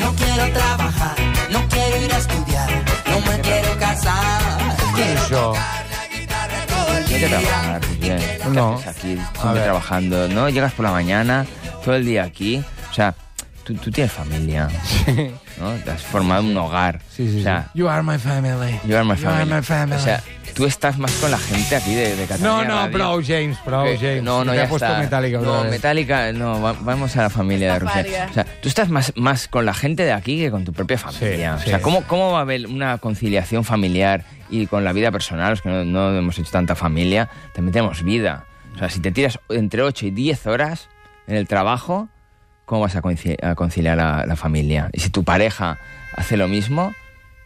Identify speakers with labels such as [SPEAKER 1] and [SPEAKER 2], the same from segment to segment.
[SPEAKER 1] No quiero trabajar, no quiero ir a estudiar, no me quiero casar. Quiero
[SPEAKER 2] Yo.
[SPEAKER 1] tocar la guitarra todo el
[SPEAKER 3] No hay que
[SPEAKER 1] día.
[SPEAKER 3] trabajar, Julián. ¿Qué
[SPEAKER 2] No.
[SPEAKER 3] haces aquí?
[SPEAKER 2] A
[SPEAKER 3] Siempre
[SPEAKER 2] ver.
[SPEAKER 3] trabajando, ¿no? Llegas por la mañana, todo el día aquí. O sea, tú, tú tienes familia, ¿no? Te has formado un hogar.
[SPEAKER 2] Sí, sí,
[SPEAKER 3] O sea,
[SPEAKER 2] sí. You are my family.
[SPEAKER 3] you are
[SPEAKER 2] You
[SPEAKER 3] my
[SPEAKER 2] are
[SPEAKER 3] family.
[SPEAKER 2] my family.
[SPEAKER 3] O sea, tú estás más con la gente aquí de, de Cataluña.
[SPEAKER 2] no, no,
[SPEAKER 3] Radio.
[SPEAKER 2] bro, James, bro,
[SPEAKER 3] Eh,
[SPEAKER 2] James.
[SPEAKER 3] No, no,
[SPEAKER 2] Te
[SPEAKER 3] ya
[SPEAKER 2] ha puesto
[SPEAKER 3] está.
[SPEAKER 2] Metallica otra
[SPEAKER 3] no,
[SPEAKER 2] vez.
[SPEAKER 3] Metallica, no, va- vamos a la familia de
[SPEAKER 4] Esta
[SPEAKER 3] Rusia.
[SPEAKER 4] paria.
[SPEAKER 3] O sea, tú estás más, más con la gente de aquí que con tu propia familia.
[SPEAKER 2] Sí,
[SPEAKER 3] o sea,
[SPEAKER 2] sí.
[SPEAKER 3] ¿cómo, ¿cómo va a haber una conciliación familiar y con la vida personal? Los que no, no hemos hecho tanta familia, también tenemos vida. O sea, si te tiras entre 8 y 10 horas en el trabajo, ¿cómo vas a conci- a conciliar la, la familia? Y si tu pareja hace lo mismo,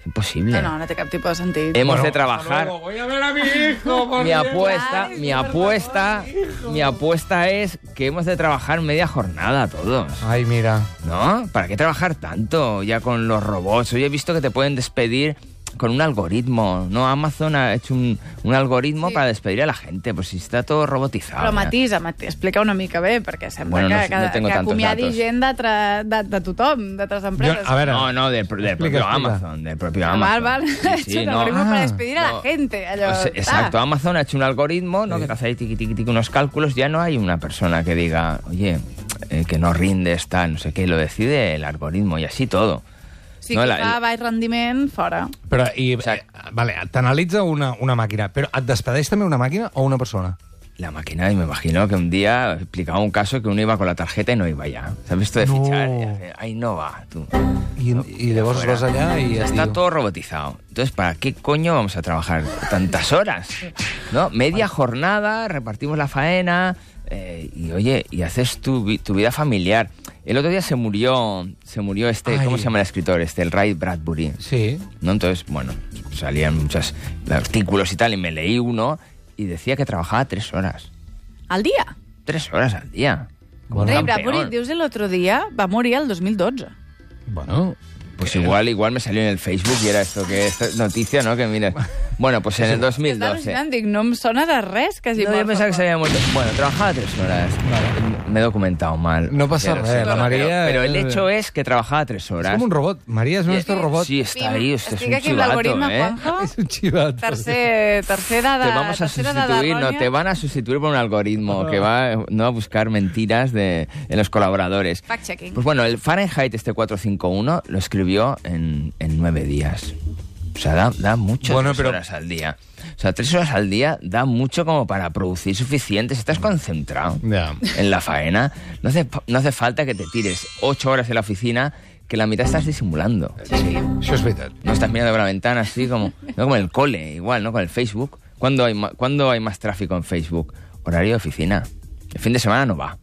[SPEAKER 3] es imposible.
[SPEAKER 4] Eh, No, no, no té cap tipus de sentit.
[SPEAKER 3] Hemos
[SPEAKER 2] Bueno,
[SPEAKER 3] de
[SPEAKER 2] hasta
[SPEAKER 3] trabajar
[SPEAKER 2] luego. Voy a ver a mi hijo. por
[SPEAKER 3] mi
[SPEAKER 2] Dios.
[SPEAKER 3] apuesta, mi apuesta, mi apuesta es que hemos de trabajar media jornada todos.
[SPEAKER 2] Ay, mira.
[SPEAKER 3] ¿No? ¿Para qué trabajar tanto ya con los robots? Hoy he visto que te pueden despedir con un algoritmo, ¿no? Amazon ha hecho un, un algoritmo
[SPEAKER 4] Sí.
[SPEAKER 3] para despedir a la gente, pues si está todo robotizado.
[SPEAKER 4] Però
[SPEAKER 3] ya.
[SPEAKER 4] matisa, matisa, explica una mica bé, perquè sembla
[SPEAKER 3] Ah, Bueno, no
[SPEAKER 4] que,
[SPEAKER 3] sé,
[SPEAKER 4] que,
[SPEAKER 3] no tengo
[SPEAKER 4] que
[SPEAKER 3] tantos
[SPEAKER 4] acomiadi
[SPEAKER 3] datos.
[SPEAKER 4] gent d'altre- de, de tothom, d'altres
[SPEAKER 2] Yo,
[SPEAKER 4] empreses.
[SPEAKER 2] a ver,
[SPEAKER 3] No, no, del, del propio
[SPEAKER 2] explica.
[SPEAKER 3] Amazon, del propio
[SPEAKER 4] Ah,
[SPEAKER 3] Amazon.
[SPEAKER 4] Val, val.
[SPEAKER 3] Sí,
[SPEAKER 4] Ha
[SPEAKER 3] sí,
[SPEAKER 4] hecho un
[SPEAKER 3] no.
[SPEAKER 4] algoritmo para
[SPEAKER 2] Ah.
[SPEAKER 4] despedir a
[SPEAKER 3] No.
[SPEAKER 4] la gente. Allò,
[SPEAKER 3] Pues,
[SPEAKER 4] ah.
[SPEAKER 3] exacto, Amazon ha hecho un algoritmo ¿no? que te hace ahí tiqui, tiqui, tiqui, unos cálculos. Ya no hay una persona que diga, oye, eh, que no rindes, tal, no sé qué. Lo decide el algoritmo y así todo.
[SPEAKER 4] Sí,
[SPEAKER 3] No,
[SPEAKER 4] que
[SPEAKER 3] la-
[SPEAKER 4] fa baix rendiment, fora.
[SPEAKER 2] Però, i,
[SPEAKER 3] O sea,
[SPEAKER 2] eh, vale, t'analitza una, una màquina, però et despedeix també una màquina o una persona?
[SPEAKER 3] La máquina, y me imagino que un día explicaba un caso que uno iba con la tarjeta y no iba ya. ¿Sabes esto de
[SPEAKER 2] No.
[SPEAKER 3] fichar? Y hace, Ay, no va, tú.
[SPEAKER 2] I, i llavors
[SPEAKER 3] Fuera.
[SPEAKER 2] vas allà i...
[SPEAKER 3] Ya
[SPEAKER 2] et
[SPEAKER 3] está
[SPEAKER 2] diu-
[SPEAKER 3] todo robotizado. Entonces, ¿para qué coño vamos a trabajar tantas horas? ¿No? Media jornada, repartimos la faena eh, y oye, y haces tu, vi- tu vida familiar. El otro día se murió, se murió este,
[SPEAKER 2] Ay.
[SPEAKER 3] ¿cómo se llama el escritor? Este, el Ray Bradbury.
[SPEAKER 2] Sí.
[SPEAKER 3] ¿no? Entonces, bueno, salían muchos artículos y tal, y me leí uno y decía que trabajaba tres horas.
[SPEAKER 4] Al dia.
[SPEAKER 3] Tres horas al día. Como
[SPEAKER 2] Bueno.
[SPEAKER 3] un
[SPEAKER 4] Ray
[SPEAKER 3] campeón.
[SPEAKER 4] Bradbury, dius l'altre dia, va morir el 2012.
[SPEAKER 2] Bueno,
[SPEAKER 3] Pues igual, igual me salió en el Facebook y era esto que esta noticia, ¿no? Que mira. Bueno, pues en el
[SPEAKER 4] Estava
[SPEAKER 3] 2012.
[SPEAKER 4] al·lucinant, dic, no em sona de res que hagi
[SPEAKER 3] No, yo pensaba que se había muerto. Bueno, trabajaba tres horas. Me he documentado mal.
[SPEAKER 2] No pasa
[SPEAKER 3] Pero
[SPEAKER 2] nada, la
[SPEAKER 3] pero-
[SPEAKER 2] María-
[SPEAKER 3] Pero el hecho es que trabajaba tres
[SPEAKER 2] és
[SPEAKER 3] horas.
[SPEAKER 2] com un robot. Maria és un nostre robot.
[SPEAKER 3] Sí, está ahí. Usted es
[SPEAKER 4] Estic
[SPEAKER 3] un
[SPEAKER 4] aquí amb
[SPEAKER 3] chivato,
[SPEAKER 4] l'algoritme,
[SPEAKER 3] ¿eh?
[SPEAKER 4] Juanjo.
[SPEAKER 2] És un xivat.
[SPEAKER 4] Tercer, tercera de...
[SPEAKER 3] Te vamos a
[SPEAKER 4] tercera de
[SPEAKER 3] sustituir, no,
[SPEAKER 4] errònia.
[SPEAKER 3] te van a sustituir por un algoritmo que va no a buscar mentiras de, en los colaboradores.
[SPEAKER 4] Fact-checking.
[SPEAKER 3] Pues bueno, el Fahrenheit este 451 lo escribió en, en nueve días. O sea, da, da mucho
[SPEAKER 2] Bueno,
[SPEAKER 3] tres
[SPEAKER 2] pero-
[SPEAKER 3] horas al día. O sea, tres horas al día da mucho como para producir suficiente si estás concentrado
[SPEAKER 2] Ja.
[SPEAKER 3] en la faena. No hace, no hace falta que te tires ocho horas en la oficina que la mitad estás disimulando.
[SPEAKER 2] Això és veritat.
[SPEAKER 3] No estás mirando por la ventana así como... No como en el cole, igual, ¿no? Con el Facebook. ¿Cuándo hay, ma- ¿Cuándo hay más tráfico en Facebook? Horario de oficina. El fin de semana no va.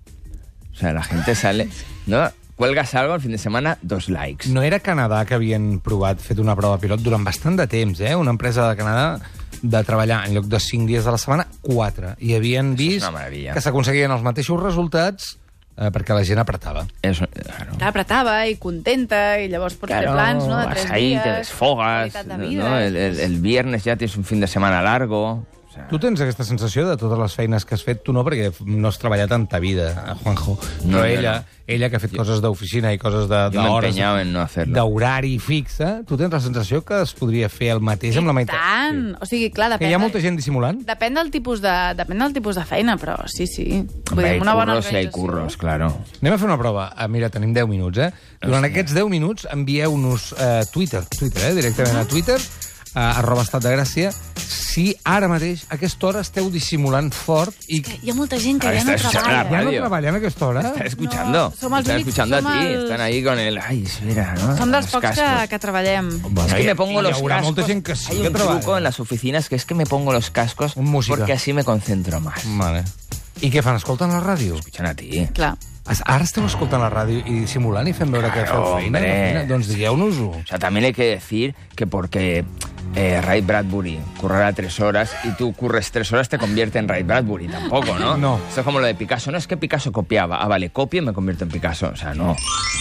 [SPEAKER 3] O sea, la gente sale... ¿No? Cuelgas algo el fin de semana, dos likes.
[SPEAKER 2] No era Canadà que havien provat, fet una prova pilot durant bastant de temps, eh? Una empresa de Canadà de treballar en lloc de 5 dies de la setmana, 4. I havien
[SPEAKER 3] una
[SPEAKER 2] vist
[SPEAKER 3] meravella.
[SPEAKER 2] que s'aconseguien els mateixos resultats eh, perquè la gent apretava.
[SPEAKER 3] Eso, claro.
[SPEAKER 4] Clar, apretava i contenta, i llavors pots fer plans, no?, de
[SPEAKER 3] vas
[SPEAKER 4] tres
[SPEAKER 3] ahí,
[SPEAKER 4] dies.
[SPEAKER 3] te desfogas.
[SPEAKER 4] qualitat de
[SPEAKER 3] ¿no?
[SPEAKER 4] vida,
[SPEAKER 3] El, el- el viernes ya tienes un fin de semana largo. O sea,
[SPEAKER 2] Tu tens aquesta sensació de totes les feines que has fet, tu no, perquè no has treballat tanta vida, eh, Juanjo.
[SPEAKER 3] Ah. No,
[SPEAKER 2] No,
[SPEAKER 3] jo
[SPEAKER 2] Però ella,
[SPEAKER 3] no.
[SPEAKER 2] ella que ha fet coses d'oficina i coses de-
[SPEAKER 3] yo me he
[SPEAKER 2] d'hores...
[SPEAKER 3] empeñado en no hacerlo.
[SPEAKER 2] d'horari fixe, tu tens la sensació que es podria fer el mateix amb la meitat.
[SPEAKER 4] Tant! O sigui, clar,
[SPEAKER 2] Que
[SPEAKER 4] depèn...
[SPEAKER 2] hi ha
[SPEAKER 4] de-
[SPEAKER 2] molta gent dissimulant?
[SPEAKER 4] Depèn del tipus de, depèn del tipus de feina, però sí, sí. Vull
[SPEAKER 3] Hombre,
[SPEAKER 4] dir,
[SPEAKER 3] hay
[SPEAKER 4] amb Pues una bona
[SPEAKER 3] curros y hay
[SPEAKER 4] organització.
[SPEAKER 3] curros, claro.
[SPEAKER 2] Anem a fer una prova. Ah, mira, tenim 10 minuts, eh? Durant aquests 10 minuts envieu-nos a Twitter, Twitter, eh? directament a Twitter, a arroba estat de gràcia, si ara mateix, a aquesta hora, esteu dissimulant fort i que
[SPEAKER 4] Hi ha molta gent que
[SPEAKER 3] Ara
[SPEAKER 4] ja no
[SPEAKER 3] estàs
[SPEAKER 4] treballa.
[SPEAKER 3] xerrant.
[SPEAKER 2] ja no
[SPEAKER 3] ràdio.
[SPEAKER 2] treballen a aquesta hora.
[SPEAKER 3] Están escuchando.
[SPEAKER 4] No, somos
[SPEAKER 3] están
[SPEAKER 4] los
[SPEAKER 3] escuchando a
[SPEAKER 4] únicos,
[SPEAKER 3] ti.
[SPEAKER 4] somos-
[SPEAKER 3] Están ahí con el. Ay, espera, ¿no?
[SPEAKER 4] Som dels
[SPEAKER 3] Los
[SPEAKER 4] pocs que,
[SPEAKER 3] cascos.
[SPEAKER 4] que treballem.
[SPEAKER 3] Es que me pongo
[SPEAKER 2] hi
[SPEAKER 3] los
[SPEAKER 2] haurà
[SPEAKER 3] cascos.
[SPEAKER 2] molta gent que sí
[SPEAKER 3] Hay
[SPEAKER 2] que
[SPEAKER 3] un
[SPEAKER 2] treballa.
[SPEAKER 3] truco en las oficinas que es que me pongo los cascos
[SPEAKER 2] Un Mm. música.
[SPEAKER 3] porque así me concentro más.
[SPEAKER 2] Vale. I què fan? Escolten la ràdio?
[SPEAKER 3] Escuchan a ti.
[SPEAKER 4] Clar.
[SPEAKER 2] Es- Ara esteu escoltant la ràdio i dissimulant i fent veure que
[SPEAKER 3] Claro,
[SPEAKER 2] feu feina?
[SPEAKER 3] hombre.
[SPEAKER 2] feina? Doncs digueu-nos-ho.
[SPEAKER 3] O sea, también hay que decir que porque eh, Ray Bradbury currará tres horas y tú curres tres horas te convierte en Ray Bradbury tampoco, ¿no?
[SPEAKER 2] No.
[SPEAKER 3] Esto es como lo de Picasso. No es que Picasso copiaba. Ah, vale, copio y me convierto en Picasso. O sea, no.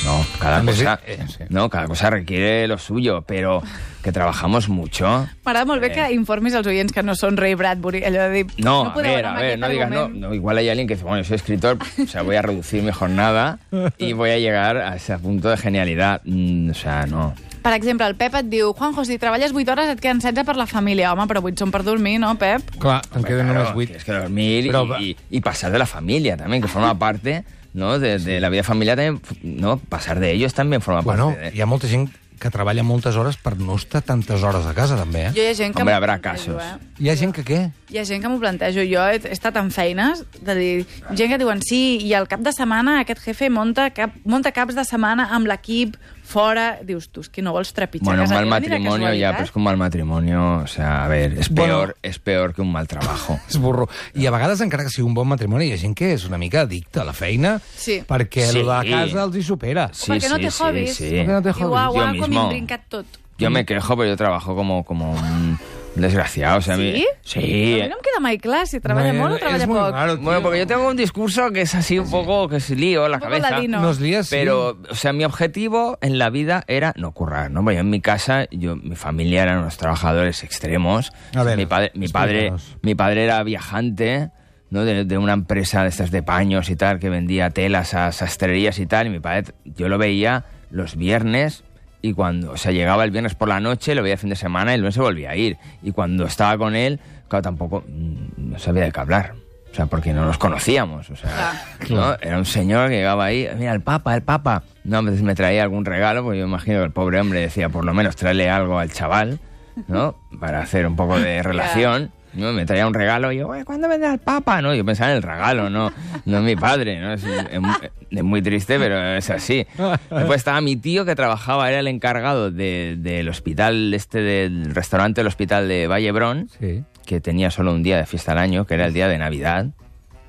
[SPEAKER 3] No, cada
[SPEAKER 2] Hombre,
[SPEAKER 3] cosa,
[SPEAKER 2] sí, eh, sí.
[SPEAKER 3] no, cada cosa requiere lo suyo, pero que trabajamos mucho.
[SPEAKER 4] M'agrada molt bé que informis als oients que no són Ray Bradbury, allò de dir...
[SPEAKER 3] Eh. No, a
[SPEAKER 4] podeu
[SPEAKER 3] ver,
[SPEAKER 4] anar
[SPEAKER 3] a
[SPEAKER 4] amb
[SPEAKER 3] ver,
[SPEAKER 4] aquest
[SPEAKER 3] no digas, no,
[SPEAKER 4] argument".
[SPEAKER 3] no, Igual hay alguien que dice, bueno, yo soy escritor, o sea, voy a reducir mi jornada y voy a llegar a ese punto de genialidad. Mm, o sea, no.
[SPEAKER 4] Per exemple, el Pep et diu, Juanjo, si treballes 8 hores et queden 16 per la família. Home, però 8 són per dormir, no, Pep?
[SPEAKER 2] Clar, en queden
[SPEAKER 3] Claro,
[SPEAKER 2] només 8.
[SPEAKER 3] Tienes que dormir y-
[SPEAKER 2] Pero-
[SPEAKER 3] y, y pasar de la familia también, que forma parte ¿no? de, de la vida familiar también, ¿no? Pasar de ellos también forma
[SPEAKER 2] Bueno,
[SPEAKER 3] parte de...
[SPEAKER 2] hi ha molta gent que treballa moltes hores per no estar tantes hores a casa, també, eh?
[SPEAKER 4] Jo hi ha gent que...
[SPEAKER 3] Hombre,
[SPEAKER 4] m'ho
[SPEAKER 3] habrá
[SPEAKER 4] plantejo,
[SPEAKER 3] casos.
[SPEAKER 4] eh?
[SPEAKER 2] Hi ha gent que què?
[SPEAKER 4] Hi ha gent que m'ho plantejo. Jo he he estat en feines de dir... Gent que diuen, sí, i al cap de setmana aquest jefe monta, cap, monta caps de setmana amb l'equip fora. Dius, tu, és que no vols trepitjar
[SPEAKER 3] Bueno, un
[SPEAKER 4] casa.
[SPEAKER 3] mal
[SPEAKER 4] Mira, mira,
[SPEAKER 3] matrimonio ya,
[SPEAKER 4] casualitat.
[SPEAKER 3] pero es que un mal matrimonio, o sea, a ver, es
[SPEAKER 2] Bueno.
[SPEAKER 3] peor, es peor que un mal trabajo.
[SPEAKER 2] És burro. I a vegades, encara que sigui un bon matrimoni, hi ha gent que és una mica addicta a la feina
[SPEAKER 4] Sí.
[SPEAKER 2] perquè
[SPEAKER 3] Sí.
[SPEAKER 2] sí. la casa els hi supera.
[SPEAKER 3] Sí,
[SPEAKER 4] Perquè no
[SPEAKER 3] sí,
[SPEAKER 4] té
[SPEAKER 3] sí,
[SPEAKER 4] hobbies.
[SPEAKER 3] sí.
[SPEAKER 2] Perquè no té
[SPEAKER 4] Diu,
[SPEAKER 2] hobbies.
[SPEAKER 4] uau, uau,
[SPEAKER 3] Jo
[SPEAKER 4] com
[SPEAKER 3] mismo.
[SPEAKER 4] imbrincat tot.
[SPEAKER 3] Yo me quejo, pero yo trabajo como, como un desgraciado. O sea, a mí-
[SPEAKER 4] ¿Sí?
[SPEAKER 3] Sí.
[SPEAKER 4] A mi no em queda mai clar si treballa molt o treballa
[SPEAKER 2] és molt
[SPEAKER 4] poc.
[SPEAKER 2] Raro,
[SPEAKER 3] Bueno, porque yo tengo un discurso que es así un poco que se lío la
[SPEAKER 4] Un poco
[SPEAKER 3] cabeza.
[SPEAKER 4] ladino.
[SPEAKER 2] Nos lías, sí.
[SPEAKER 3] Pero, o sea, mi objetivo en la vida era no currar, ¿no? Bueno, yo en mi casa, yo, mi familia eran unos trabajadores extremos.
[SPEAKER 2] A ver,
[SPEAKER 3] mi padre, mi padre,
[SPEAKER 2] explícanos.
[SPEAKER 3] mi padre era viajante, ¿no? De, de una empresa de estas de paños y tal, que vendía telas a sastrerías y tal. Y mi padre, yo lo veía los viernes y cuando, o sea, llegaba el viernes por la noche, lo veía el fin de semana y el lunes se volvía a ir. Y cuando estaba con él, claro, tampoco mm, no sabía de qué hablar. O sea, porque no nos conocíamos. O sea, ¿no? Era un señor que llegaba ahí, mira, el papa, el papa. No, a veces me traía algún regalo, pues yo imagino que el pobre hombre decía, por lo menos tráele algo al chaval, ¿no? Para hacer un poco de relación. ¿no? Me traía un regalo y yo, "Oye, ¿cuándo vendrá el papa? No, yo pensaba en el regalo, no, no en mi padre, ¿no? Es, es mu- es muy triste, pero es así. Después estaba mi tío que trabajaba, era el encargado de- del hospital, este del restaurante del hospital de Vallebrón
[SPEAKER 2] Sí.
[SPEAKER 3] que tenía solo un día de fiesta al año, que era el día de Navidad,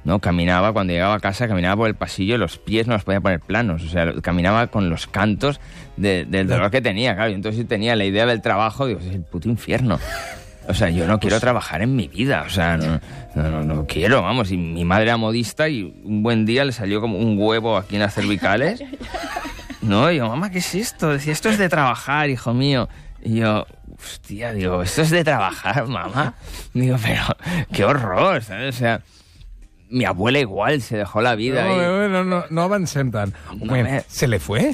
[SPEAKER 3] ¿no? Caminaba, cuando llegaba a casa, caminaba por el pasillo, los pies no los podía poner planos, o sea, lo- caminaba con los cantos de- del dolor que tenía, claro, y entonces yo tenía la idea del trabajo, digo, es el puto infierno. O sea, yo no quiero trabajar en mi vida, o sea, no, no, no, no quiero, vamos, y mi madre era modista y un buen día le salió como un huevo aquí en las cervicales. No, y yo, mamá, ¿qué es esto? Decía, esto es de trabajar, hijo mío. Y yo, hostia, digo, esto es de trabajar, mamá. Digo, pero qué horror, ¿sabes? O sea, mi abuela igual se dejó la vida.
[SPEAKER 2] No,
[SPEAKER 3] y-
[SPEAKER 2] no, no, no, no avancem tant.
[SPEAKER 3] No,
[SPEAKER 2] Un moment,
[SPEAKER 3] eh.
[SPEAKER 2] ¿se le fue?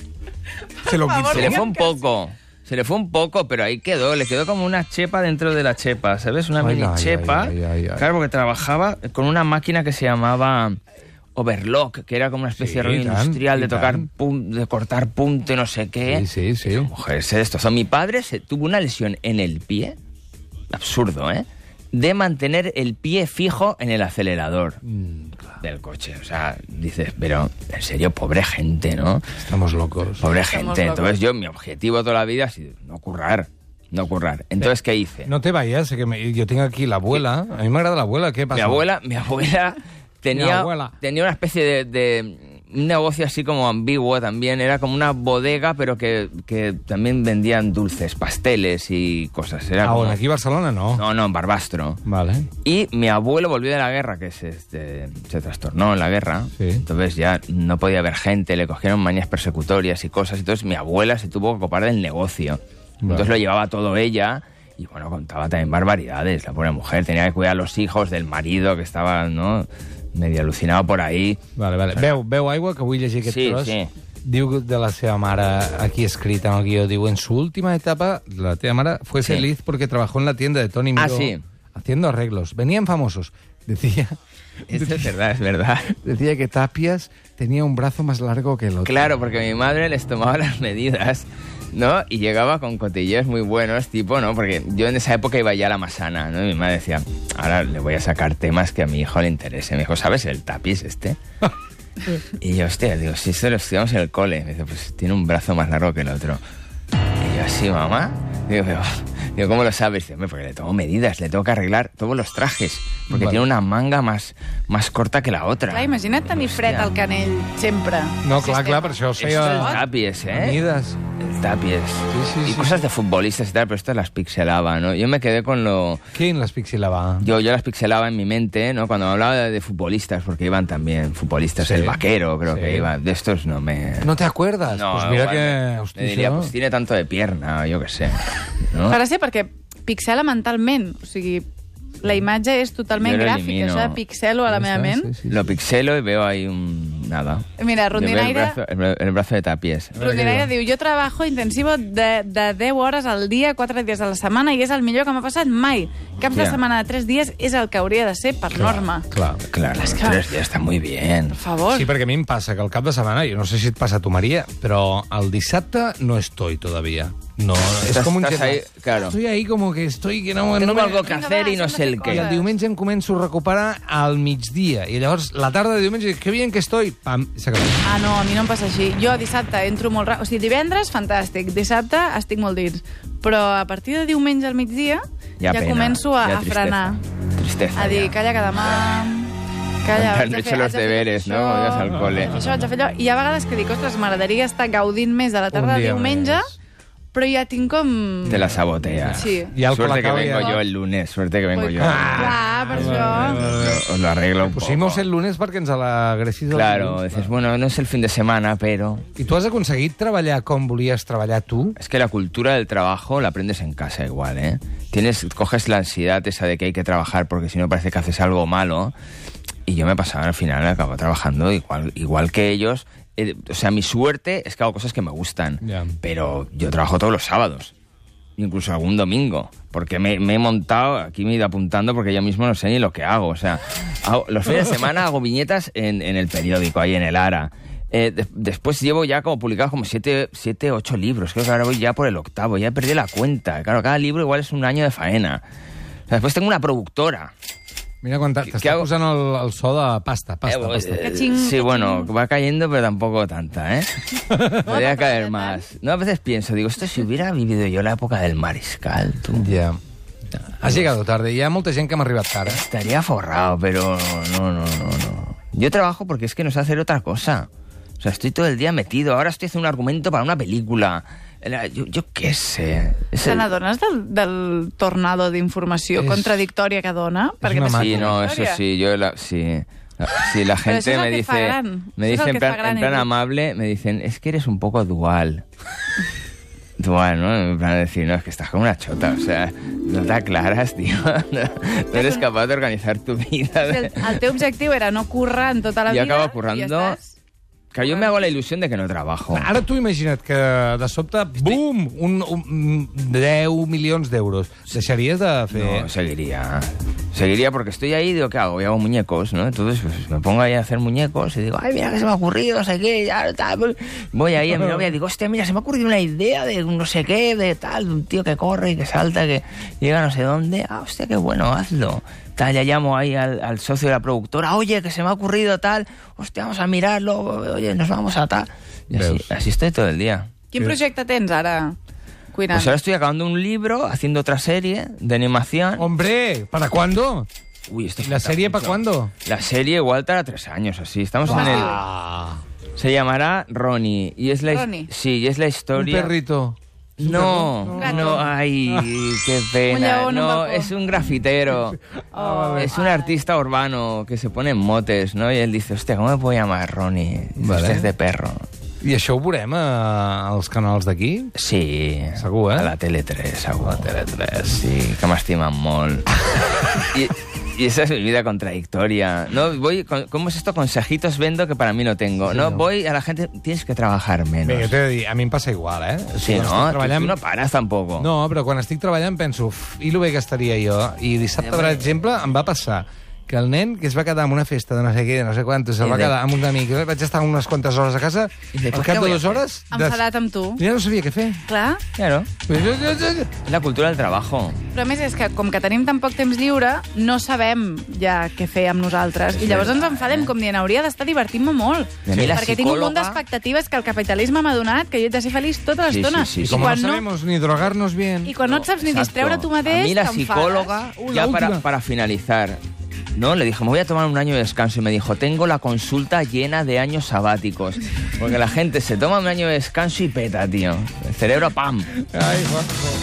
[SPEAKER 2] ¿Se lo quitó?
[SPEAKER 3] Se le fue un poco, se le fue un poco, pero ahí quedó, le quedó como una chepa dentro de la chepa, ¿sabes? Una
[SPEAKER 2] Ay,
[SPEAKER 3] mini
[SPEAKER 2] ay,
[SPEAKER 3] chepa.
[SPEAKER 2] ay, ay, ay.
[SPEAKER 3] Claro, porque trabajaba con una máquina que se llamaba overlock, que era como una especie
[SPEAKER 2] Sí,
[SPEAKER 3] de rollo
[SPEAKER 2] y tan,
[SPEAKER 3] industrial de
[SPEAKER 2] y
[SPEAKER 3] tocar,
[SPEAKER 2] tan.
[SPEAKER 3] pun- de cortar punto y no sé qué.
[SPEAKER 2] Sí, sí, sí.
[SPEAKER 3] Mujer, se destrozó. Mi padre se tuvo una lesión en el pie, absurdo, ¿eh? De mantener el pie fijo en el acelerador
[SPEAKER 2] Mm,
[SPEAKER 3] del coche. O sea, dices, pero en serio, pobre gente, ¿no?
[SPEAKER 2] Estamos locos.
[SPEAKER 3] Pobre
[SPEAKER 4] Estamos
[SPEAKER 3] gente.
[SPEAKER 4] locos.
[SPEAKER 3] Entonces yo, mi objetivo toda la vida ha sido no currar, no currar. Entonces, ¿qué hice?
[SPEAKER 2] No te vayas, que me- yo tengo aquí la abuela. A mí me agrada la abuela, ¿qué pasa?
[SPEAKER 3] Mi abuela, mi abuela tenía,
[SPEAKER 2] Mi abuela.
[SPEAKER 3] tenía una especie de, de- un negocio así como ambiguo también. Era como una bodega, pero que, que también vendían dulces, pasteles y cosas. Era
[SPEAKER 2] Ah,
[SPEAKER 3] como-
[SPEAKER 2] bueno, aquí a Barcelona no.
[SPEAKER 3] No, no, en Barbastro.
[SPEAKER 2] Vale.
[SPEAKER 3] Y mi abuelo volvió de la guerra, que se, este, se trastornó en la guerra.
[SPEAKER 2] Sí.
[SPEAKER 3] Entonces ya no podía haber gente, le cogieron manías persecutorias y cosas. Entonces mi abuela se tuvo que ocupar del negocio.
[SPEAKER 2] Vale.
[SPEAKER 3] Entonces lo llevaba todo ella y bueno, contaba también barbaridades. La pobre mujer tenía que cuidar a los hijos del marido que estaba, ¿no? Medio alucinado por ahí.
[SPEAKER 2] Vale, vale. Veu, veu aigua, que vull llegir aquest
[SPEAKER 3] Sí,
[SPEAKER 2] tros.
[SPEAKER 3] sí.
[SPEAKER 2] Diu de la seva mare, aquí escrit en el guió, diu, en su última etapa, la teva mare fue
[SPEAKER 3] Sí.
[SPEAKER 2] feliz porque trabajó en la tienda de Tony Miró.
[SPEAKER 3] Ah, sí.
[SPEAKER 2] Haciendo arreglos. Venían famosos. Decía,
[SPEAKER 3] Esto es verdad, es verdad.
[SPEAKER 2] decía que Tapias tenía un brazo más largo que el otro.
[SPEAKER 3] Claro, porque mi madre les tomaba las medidas, ¿no? Y llegaba con cotillos muy buenos, tipo, ¿no? Porque yo en esa época iba ya a la masana, ¿no? Y mi madre decía, ahora le voy a sacar temas que a mi hijo le interese. Me dijo, ¿sabes el tapiz este? y yo, hostia, digo, si esto lo estudiamos en el cole. Me dice, pues tiene un brazo más largo que el otro. Y yo, sí, mamá. Digo, pero, Digo, ¿cómo lo sabes? Dice, "Hombre, porque le tomo medidas, le tengo que arreglar todos los trajes, porque
[SPEAKER 2] Vale.
[SPEAKER 3] tiene una manga más, más corta que la otra.
[SPEAKER 4] Clar, imagina't tenir fred al canell sempre.
[SPEAKER 2] No, clar,
[SPEAKER 4] Sistema.
[SPEAKER 2] clar, per això
[SPEAKER 3] Esto
[SPEAKER 2] feia...
[SPEAKER 3] es tapies, ¿eh?
[SPEAKER 2] Mides.
[SPEAKER 3] El tapies.
[SPEAKER 2] Sí, sí,
[SPEAKER 3] y
[SPEAKER 2] sí,
[SPEAKER 3] cosas de futbolistas y tal, pero estas las pixelaba, ¿no? Yo me quedé con lo...
[SPEAKER 2] ¿Quién las pixelaba?
[SPEAKER 3] Yo, yo las pixelaba en mi mente, ¿no? Cuando hablaba de, de futbolistas, porque iban también futbolistas,
[SPEAKER 2] Sí.
[SPEAKER 3] el vaquero creo
[SPEAKER 2] Sí.
[SPEAKER 3] que iba. De estos no me...
[SPEAKER 2] ¿No te acuerdas?
[SPEAKER 3] No,
[SPEAKER 2] pues mira
[SPEAKER 3] igual me-
[SPEAKER 2] que...
[SPEAKER 3] me
[SPEAKER 2] Hosti,
[SPEAKER 3] diría,
[SPEAKER 2] això-
[SPEAKER 3] pues tiene tanto de pierna, yo qué sé. ¿no?
[SPEAKER 4] Farà ser perquè pixela mentalment, o sigui, la imatge és totalment
[SPEAKER 3] Jo
[SPEAKER 4] gràfica,
[SPEAKER 3] l'elimino.
[SPEAKER 4] això de pixelo a la
[SPEAKER 2] Ja
[SPEAKER 4] meva
[SPEAKER 2] està,
[SPEAKER 4] ment.
[SPEAKER 2] sí, sí, sí.
[SPEAKER 3] Lo pixelo y veo ahí un... nada.
[SPEAKER 4] Mira,
[SPEAKER 3] Yo veo el
[SPEAKER 4] Rondinaire-
[SPEAKER 3] brazo, el, bra- el brazo de tapies.
[SPEAKER 2] veure què
[SPEAKER 4] Rondinaire diu, jo treballo intensivo de, de 10 hores al dia, 4 dies a la setmana, i és el millor que m'ha passat mai. Caps de
[SPEAKER 3] Hòstia.
[SPEAKER 4] setmana de 3 dies és el que hauria de ser per norma.
[SPEAKER 2] Clar.
[SPEAKER 3] Claro, los tres días está muy bien.
[SPEAKER 4] Per favor.
[SPEAKER 2] Sí, perquè a mi em passa que el cap de setmana, jo no sé si et passa a tu, Maria, però el dissabte no estoy todavía. No, és
[SPEAKER 3] Estás-
[SPEAKER 2] com un
[SPEAKER 3] estás
[SPEAKER 2] germà.
[SPEAKER 3] ahí, claro.
[SPEAKER 2] Estoy ahí como que estoy que no...
[SPEAKER 3] No
[SPEAKER 2] no
[SPEAKER 3] tengo
[SPEAKER 2] me-
[SPEAKER 3] algo que
[SPEAKER 4] Venga,
[SPEAKER 3] hacer
[SPEAKER 4] va,
[SPEAKER 3] y no
[SPEAKER 4] hacemos
[SPEAKER 3] sé el
[SPEAKER 4] qué
[SPEAKER 2] I
[SPEAKER 3] qué.
[SPEAKER 2] el diumenge em començo a recuperar al migdia. I llavors, la tarda de diumenge, que bien que estoy, pam, s'ha acabat.
[SPEAKER 4] Ah, no, a mi no em passa així. Jo dissabte entro molt... ra- O sigui, divendres, fantàstic. Dissabte estic molt dins. Però a partir de diumenge al migdia ja,
[SPEAKER 3] pena,
[SPEAKER 4] començo a,
[SPEAKER 3] ya
[SPEAKER 4] a
[SPEAKER 3] tristeza.
[SPEAKER 4] frenar.
[SPEAKER 3] Tristeza.
[SPEAKER 4] A dir,
[SPEAKER 3] ya.
[SPEAKER 4] calla que demà... Calla,
[SPEAKER 3] Encara
[SPEAKER 4] vaig
[SPEAKER 3] no he
[SPEAKER 4] a
[SPEAKER 3] hecho
[SPEAKER 4] fer-
[SPEAKER 3] los
[SPEAKER 4] vaig a fer
[SPEAKER 3] deberes, no?
[SPEAKER 4] això,
[SPEAKER 3] Com dius al cole.
[SPEAKER 4] vaig a fer Això, vaig a fer allò. I hi ha vegades que dic, ostres, m'agradaria estar gaudint més de la tarda de
[SPEAKER 2] dia
[SPEAKER 4] diumenge,
[SPEAKER 2] més.
[SPEAKER 4] però ja tinc com...
[SPEAKER 3] Te la sabotea.
[SPEAKER 4] Sí. Pues
[SPEAKER 2] Y al
[SPEAKER 3] suerte que
[SPEAKER 2] colacao
[SPEAKER 3] vengo
[SPEAKER 2] ya-
[SPEAKER 3] yo el lunes, suerte que vengo
[SPEAKER 4] Vull-
[SPEAKER 3] yo. Ah,
[SPEAKER 4] Clar, per això...
[SPEAKER 3] Os lo arreglo un
[SPEAKER 2] Pusimos
[SPEAKER 3] poco.
[SPEAKER 2] el lunes perquè ens alegressis el
[SPEAKER 3] Claro,
[SPEAKER 2] dilluns.
[SPEAKER 3] dices, bueno, no es el fin de semana, pero...
[SPEAKER 2] I tu has aconseguit treballar com volies treballar tu?
[SPEAKER 3] Es que la cultura del trabajo la aprendes en casa igual, ¿eh? Tienes, coges la ansiedad esa de que hay que trabajar porque si no parece que haces algo malo. Y yo me pasaba al final, acabo trabajando igual, igual que ellos. Eh, o sea, mi suerte es que hago cosas que me gustan.
[SPEAKER 2] Ya.
[SPEAKER 3] Pero yo trabajo todos los sábados. Incluso algún domingo. Porque me, me he montado, aquí me he ido apuntando porque yo mismo no sé ni lo que hago. O sea, hago- los fines de semana hago viñetas en, en el periódico, ahí en el ARA. Eh, de- después llevo ya como publicados como siete, siete, ocho libros. Creo que ahora voy ya por el octavo. Ya perdí la cuenta. Claro, cada libro igual es un año de faena. O sea, después tengo una productora.
[SPEAKER 2] Mira quan t'ha-
[SPEAKER 3] què
[SPEAKER 2] t'està
[SPEAKER 3] hago?
[SPEAKER 2] posant el, el so de pasta, pasta,
[SPEAKER 3] Eh,
[SPEAKER 2] pasta.
[SPEAKER 3] eh,
[SPEAKER 4] Cachín,
[SPEAKER 3] sí,
[SPEAKER 4] cachín.
[SPEAKER 3] bueno, va cayendo, pero tampoco tanta, ¿eh? Podría caer más. No, a veces pienso, digo, esto si hubiera vivido yo la época del mariscal, tú.
[SPEAKER 2] Ja. Has llegat tarda. Hi ha molta gent que m'ha arribat tard. eh?
[SPEAKER 3] Estaría forrado, pero no, no, no, no. Yo trabajo porque es que no sé hacer otra cosa. O sea, estoy todo el día metido. Ahora estoy haciendo un argumento para una película. Era- Yo, yo qué sé. Es
[SPEAKER 4] Se
[SPEAKER 3] el-
[SPEAKER 4] n'adones del, del tornado d'informació
[SPEAKER 2] És-
[SPEAKER 4] contradictòria que dona? Perquè
[SPEAKER 2] una
[SPEAKER 4] t'has-
[SPEAKER 2] mata.
[SPEAKER 3] Sí, no, eso
[SPEAKER 4] historia.
[SPEAKER 3] sí, yo la, sí. La- Si la
[SPEAKER 4] Pero eso
[SPEAKER 3] gente
[SPEAKER 4] es lo
[SPEAKER 3] me
[SPEAKER 4] que
[SPEAKER 3] dice,
[SPEAKER 4] fa gran.
[SPEAKER 3] me
[SPEAKER 4] Eso es lo
[SPEAKER 3] dice en
[SPEAKER 4] que
[SPEAKER 3] plan,
[SPEAKER 4] fa gran
[SPEAKER 3] en plan
[SPEAKER 4] el-
[SPEAKER 3] amable, me dicen, es que eres un poco dual. dual, ¿no? En plan decir, no, es que estás como una chota, o sea, no te aclaras, tío. No, eres capaz de organizar tu vida.
[SPEAKER 4] El, el teu objectiu era no currar en tota la
[SPEAKER 3] Yo
[SPEAKER 4] vida.
[SPEAKER 3] acabo currando.
[SPEAKER 4] i estàs-
[SPEAKER 3] Que yo me hago la ilusión de que no trabajo.
[SPEAKER 4] Ah,
[SPEAKER 2] Ara tu imagina't que de sobte, bum, un, un, 10 milions d'euros. Deixaries de fer...
[SPEAKER 3] No, seguiría. Seguiría porque estoy ahí y digo, ¿qué hago? Yo hago muñecos, ¿no? Entonces pues, me pongo ahí a hacer muñecos y digo, ay, mira que se me ha ocurrido, no sé qué, ya, tal. pues". Voy ahí a mi novia y digo, hostia, mira, se me ha ocurrido una idea de un no sé qué, de tal, de un tío que corre, que salta, que llega a no sé dónde. Ah, hostia, qué bueno, hazlo. Tal, ya llamo ahí al, al socio de la productora, oye, que se me ha ocurrido tal, hostia, vamos a mirarlo, oye, nos vamos a tal. Y así,
[SPEAKER 2] Veus.
[SPEAKER 3] así estoy todo el día.
[SPEAKER 4] Quin projecte tens ara? Cuinant.
[SPEAKER 3] Pues eh, ahora estoy acabando un libro, haciendo otra serie de animación.
[SPEAKER 2] Hombre, ¿para cuándo?
[SPEAKER 3] Uy, esto
[SPEAKER 2] ¿Y Oh. la
[SPEAKER 3] falta
[SPEAKER 2] serie
[SPEAKER 3] mucho.
[SPEAKER 2] para cuándo?
[SPEAKER 3] La serie igual tarda tres años, así. Estamos
[SPEAKER 4] ¿Cómo
[SPEAKER 3] en
[SPEAKER 4] se
[SPEAKER 3] el...
[SPEAKER 4] llama?
[SPEAKER 2] Ah,
[SPEAKER 3] Se llamará Ronnie. Y es la his-
[SPEAKER 4] ¿Ronnie?
[SPEAKER 3] Sí, y es la
[SPEAKER 2] un
[SPEAKER 3] historia...
[SPEAKER 2] perrito.
[SPEAKER 3] No,
[SPEAKER 4] perro?
[SPEAKER 3] no, ay, qué
[SPEAKER 4] Un
[SPEAKER 3] pena.
[SPEAKER 4] león, un
[SPEAKER 3] no,
[SPEAKER 4] balcón.
[SPEAKER 3] es un grafitero.
[SPEAKER 2] Ah,
[SPEAKER 3] es un artista urbano que se pone en motes, ¿no? Y él dice, hostia, ¿cómo me puedo llamar Ronnie? Y dice,
[SPEAKER 2] Vale.
[SPEAKER 3] "Hostia, es de perro.
[SPEAKER 2] I això ho veurem eh, als canals d'aquí?
[SPEAKER 3] Sí.
[SPEAKER 2] Segur, eh?
[SPEAKER 3] A la Tele3, segur. A la Tele3, sí, que m'estimen molt. I, y esa es mi vida contradictoria. No, voy, con- ¿Cómo es esto? Consejitos vendo que para mí no tengo. no, voy a la gente, tienes que trabajar menos.
[SPEAKER 2] Bé, jo t'he de dir, a mi em passa igual, eh?
[SPEAKER 3] sí,
[SPEAKER 2] Quan
[SPEAKER 3] no,
[SPEAKER 2] estic
[SPEAKER 3] tú, tú no paras tampoco.
[SPEAKER 2] No, però quan estic treballant penso, uf, i lo bé que estaria jo. I dissabte, per exemple, em va passar que el nen que es va quedar en una festa de no sé què, de no sé quantos, se'l
[SPEAKER 3] Sí,
[SPEAKER 2] va
[SPEAKER 3] de-
[SPEAKER 2] quedar amb un amic, vaig estar unes quantes hores a casa,
[SPEAKER 3] I dic,
[SPEAKER 2] al
[SPEAKER 3] "Què
[SPEAKER 2] cap de
[SPEAKER 3] voy a
[SPEAKER 2] dues
[SPEAKER 3] fer?"
[SPEAKER 2] hores... des-
[SPEAKER 4] Enfadat amb tu.
[SPEAKER 2] Ja no sabia què fer.
[SPEAKER 4] Clar.
[SPEAKER 3] Claro,
[SPEAKER 2] Però
[SPEAKER 3] es la cultura del trabajo.
[SPEAKER 4] Però a més és que, com que tenim tan poc temps lliure, no sabem ja què fer amb nosaltres. I llavors ens enfadem, com dient, hauria d'estar divertint-me molt.
[SPEAKER 3] I a mi la
[SPEAKER 4] Perquè tinc un munt
[SPEAKER 3] psicòloga-
[SPEAKER 4] d'expectatives que el capitalisme m'ha donat, que jo he de ser feliç tota
[SPEAKER 3] Sí, sí,
[SPEAKER 4] l'estona.
[SPEAKER 3] sí, sí.
[SPEAKER 4] I
[SPEAKER 2] com no,
[SPEAKER 4] quan
[SPEAKER 2] no
[SPEAKER 4] no,
[SPEAKER 2] sabemos ni drogar-nos bien...
[SPEAKER 4] i quan no, et saps ni
[SPEAKER 3] Exacto.
[SPEAKER 4] distreure tu mateix,
[SPEAKER 3] A mí la
[SPEAKER 4] t'enfades.
[SPEAKER 3] psicóloga,
[SPEAKER 2] Uh, la
[SPEAKER 3] ya
[SPEAKER 2] última.
[SPEAKER 3] para, para finalizar, ¿no? Le dije, me voy a tomar un año de descanso. Y me dijo, tengo la consulta llena de años sabáticos. Porque la gente se toma un año de descanso y peta, tío. El cerebro, ¡pam!
[SPEAKER 2] Ai, Juanjo.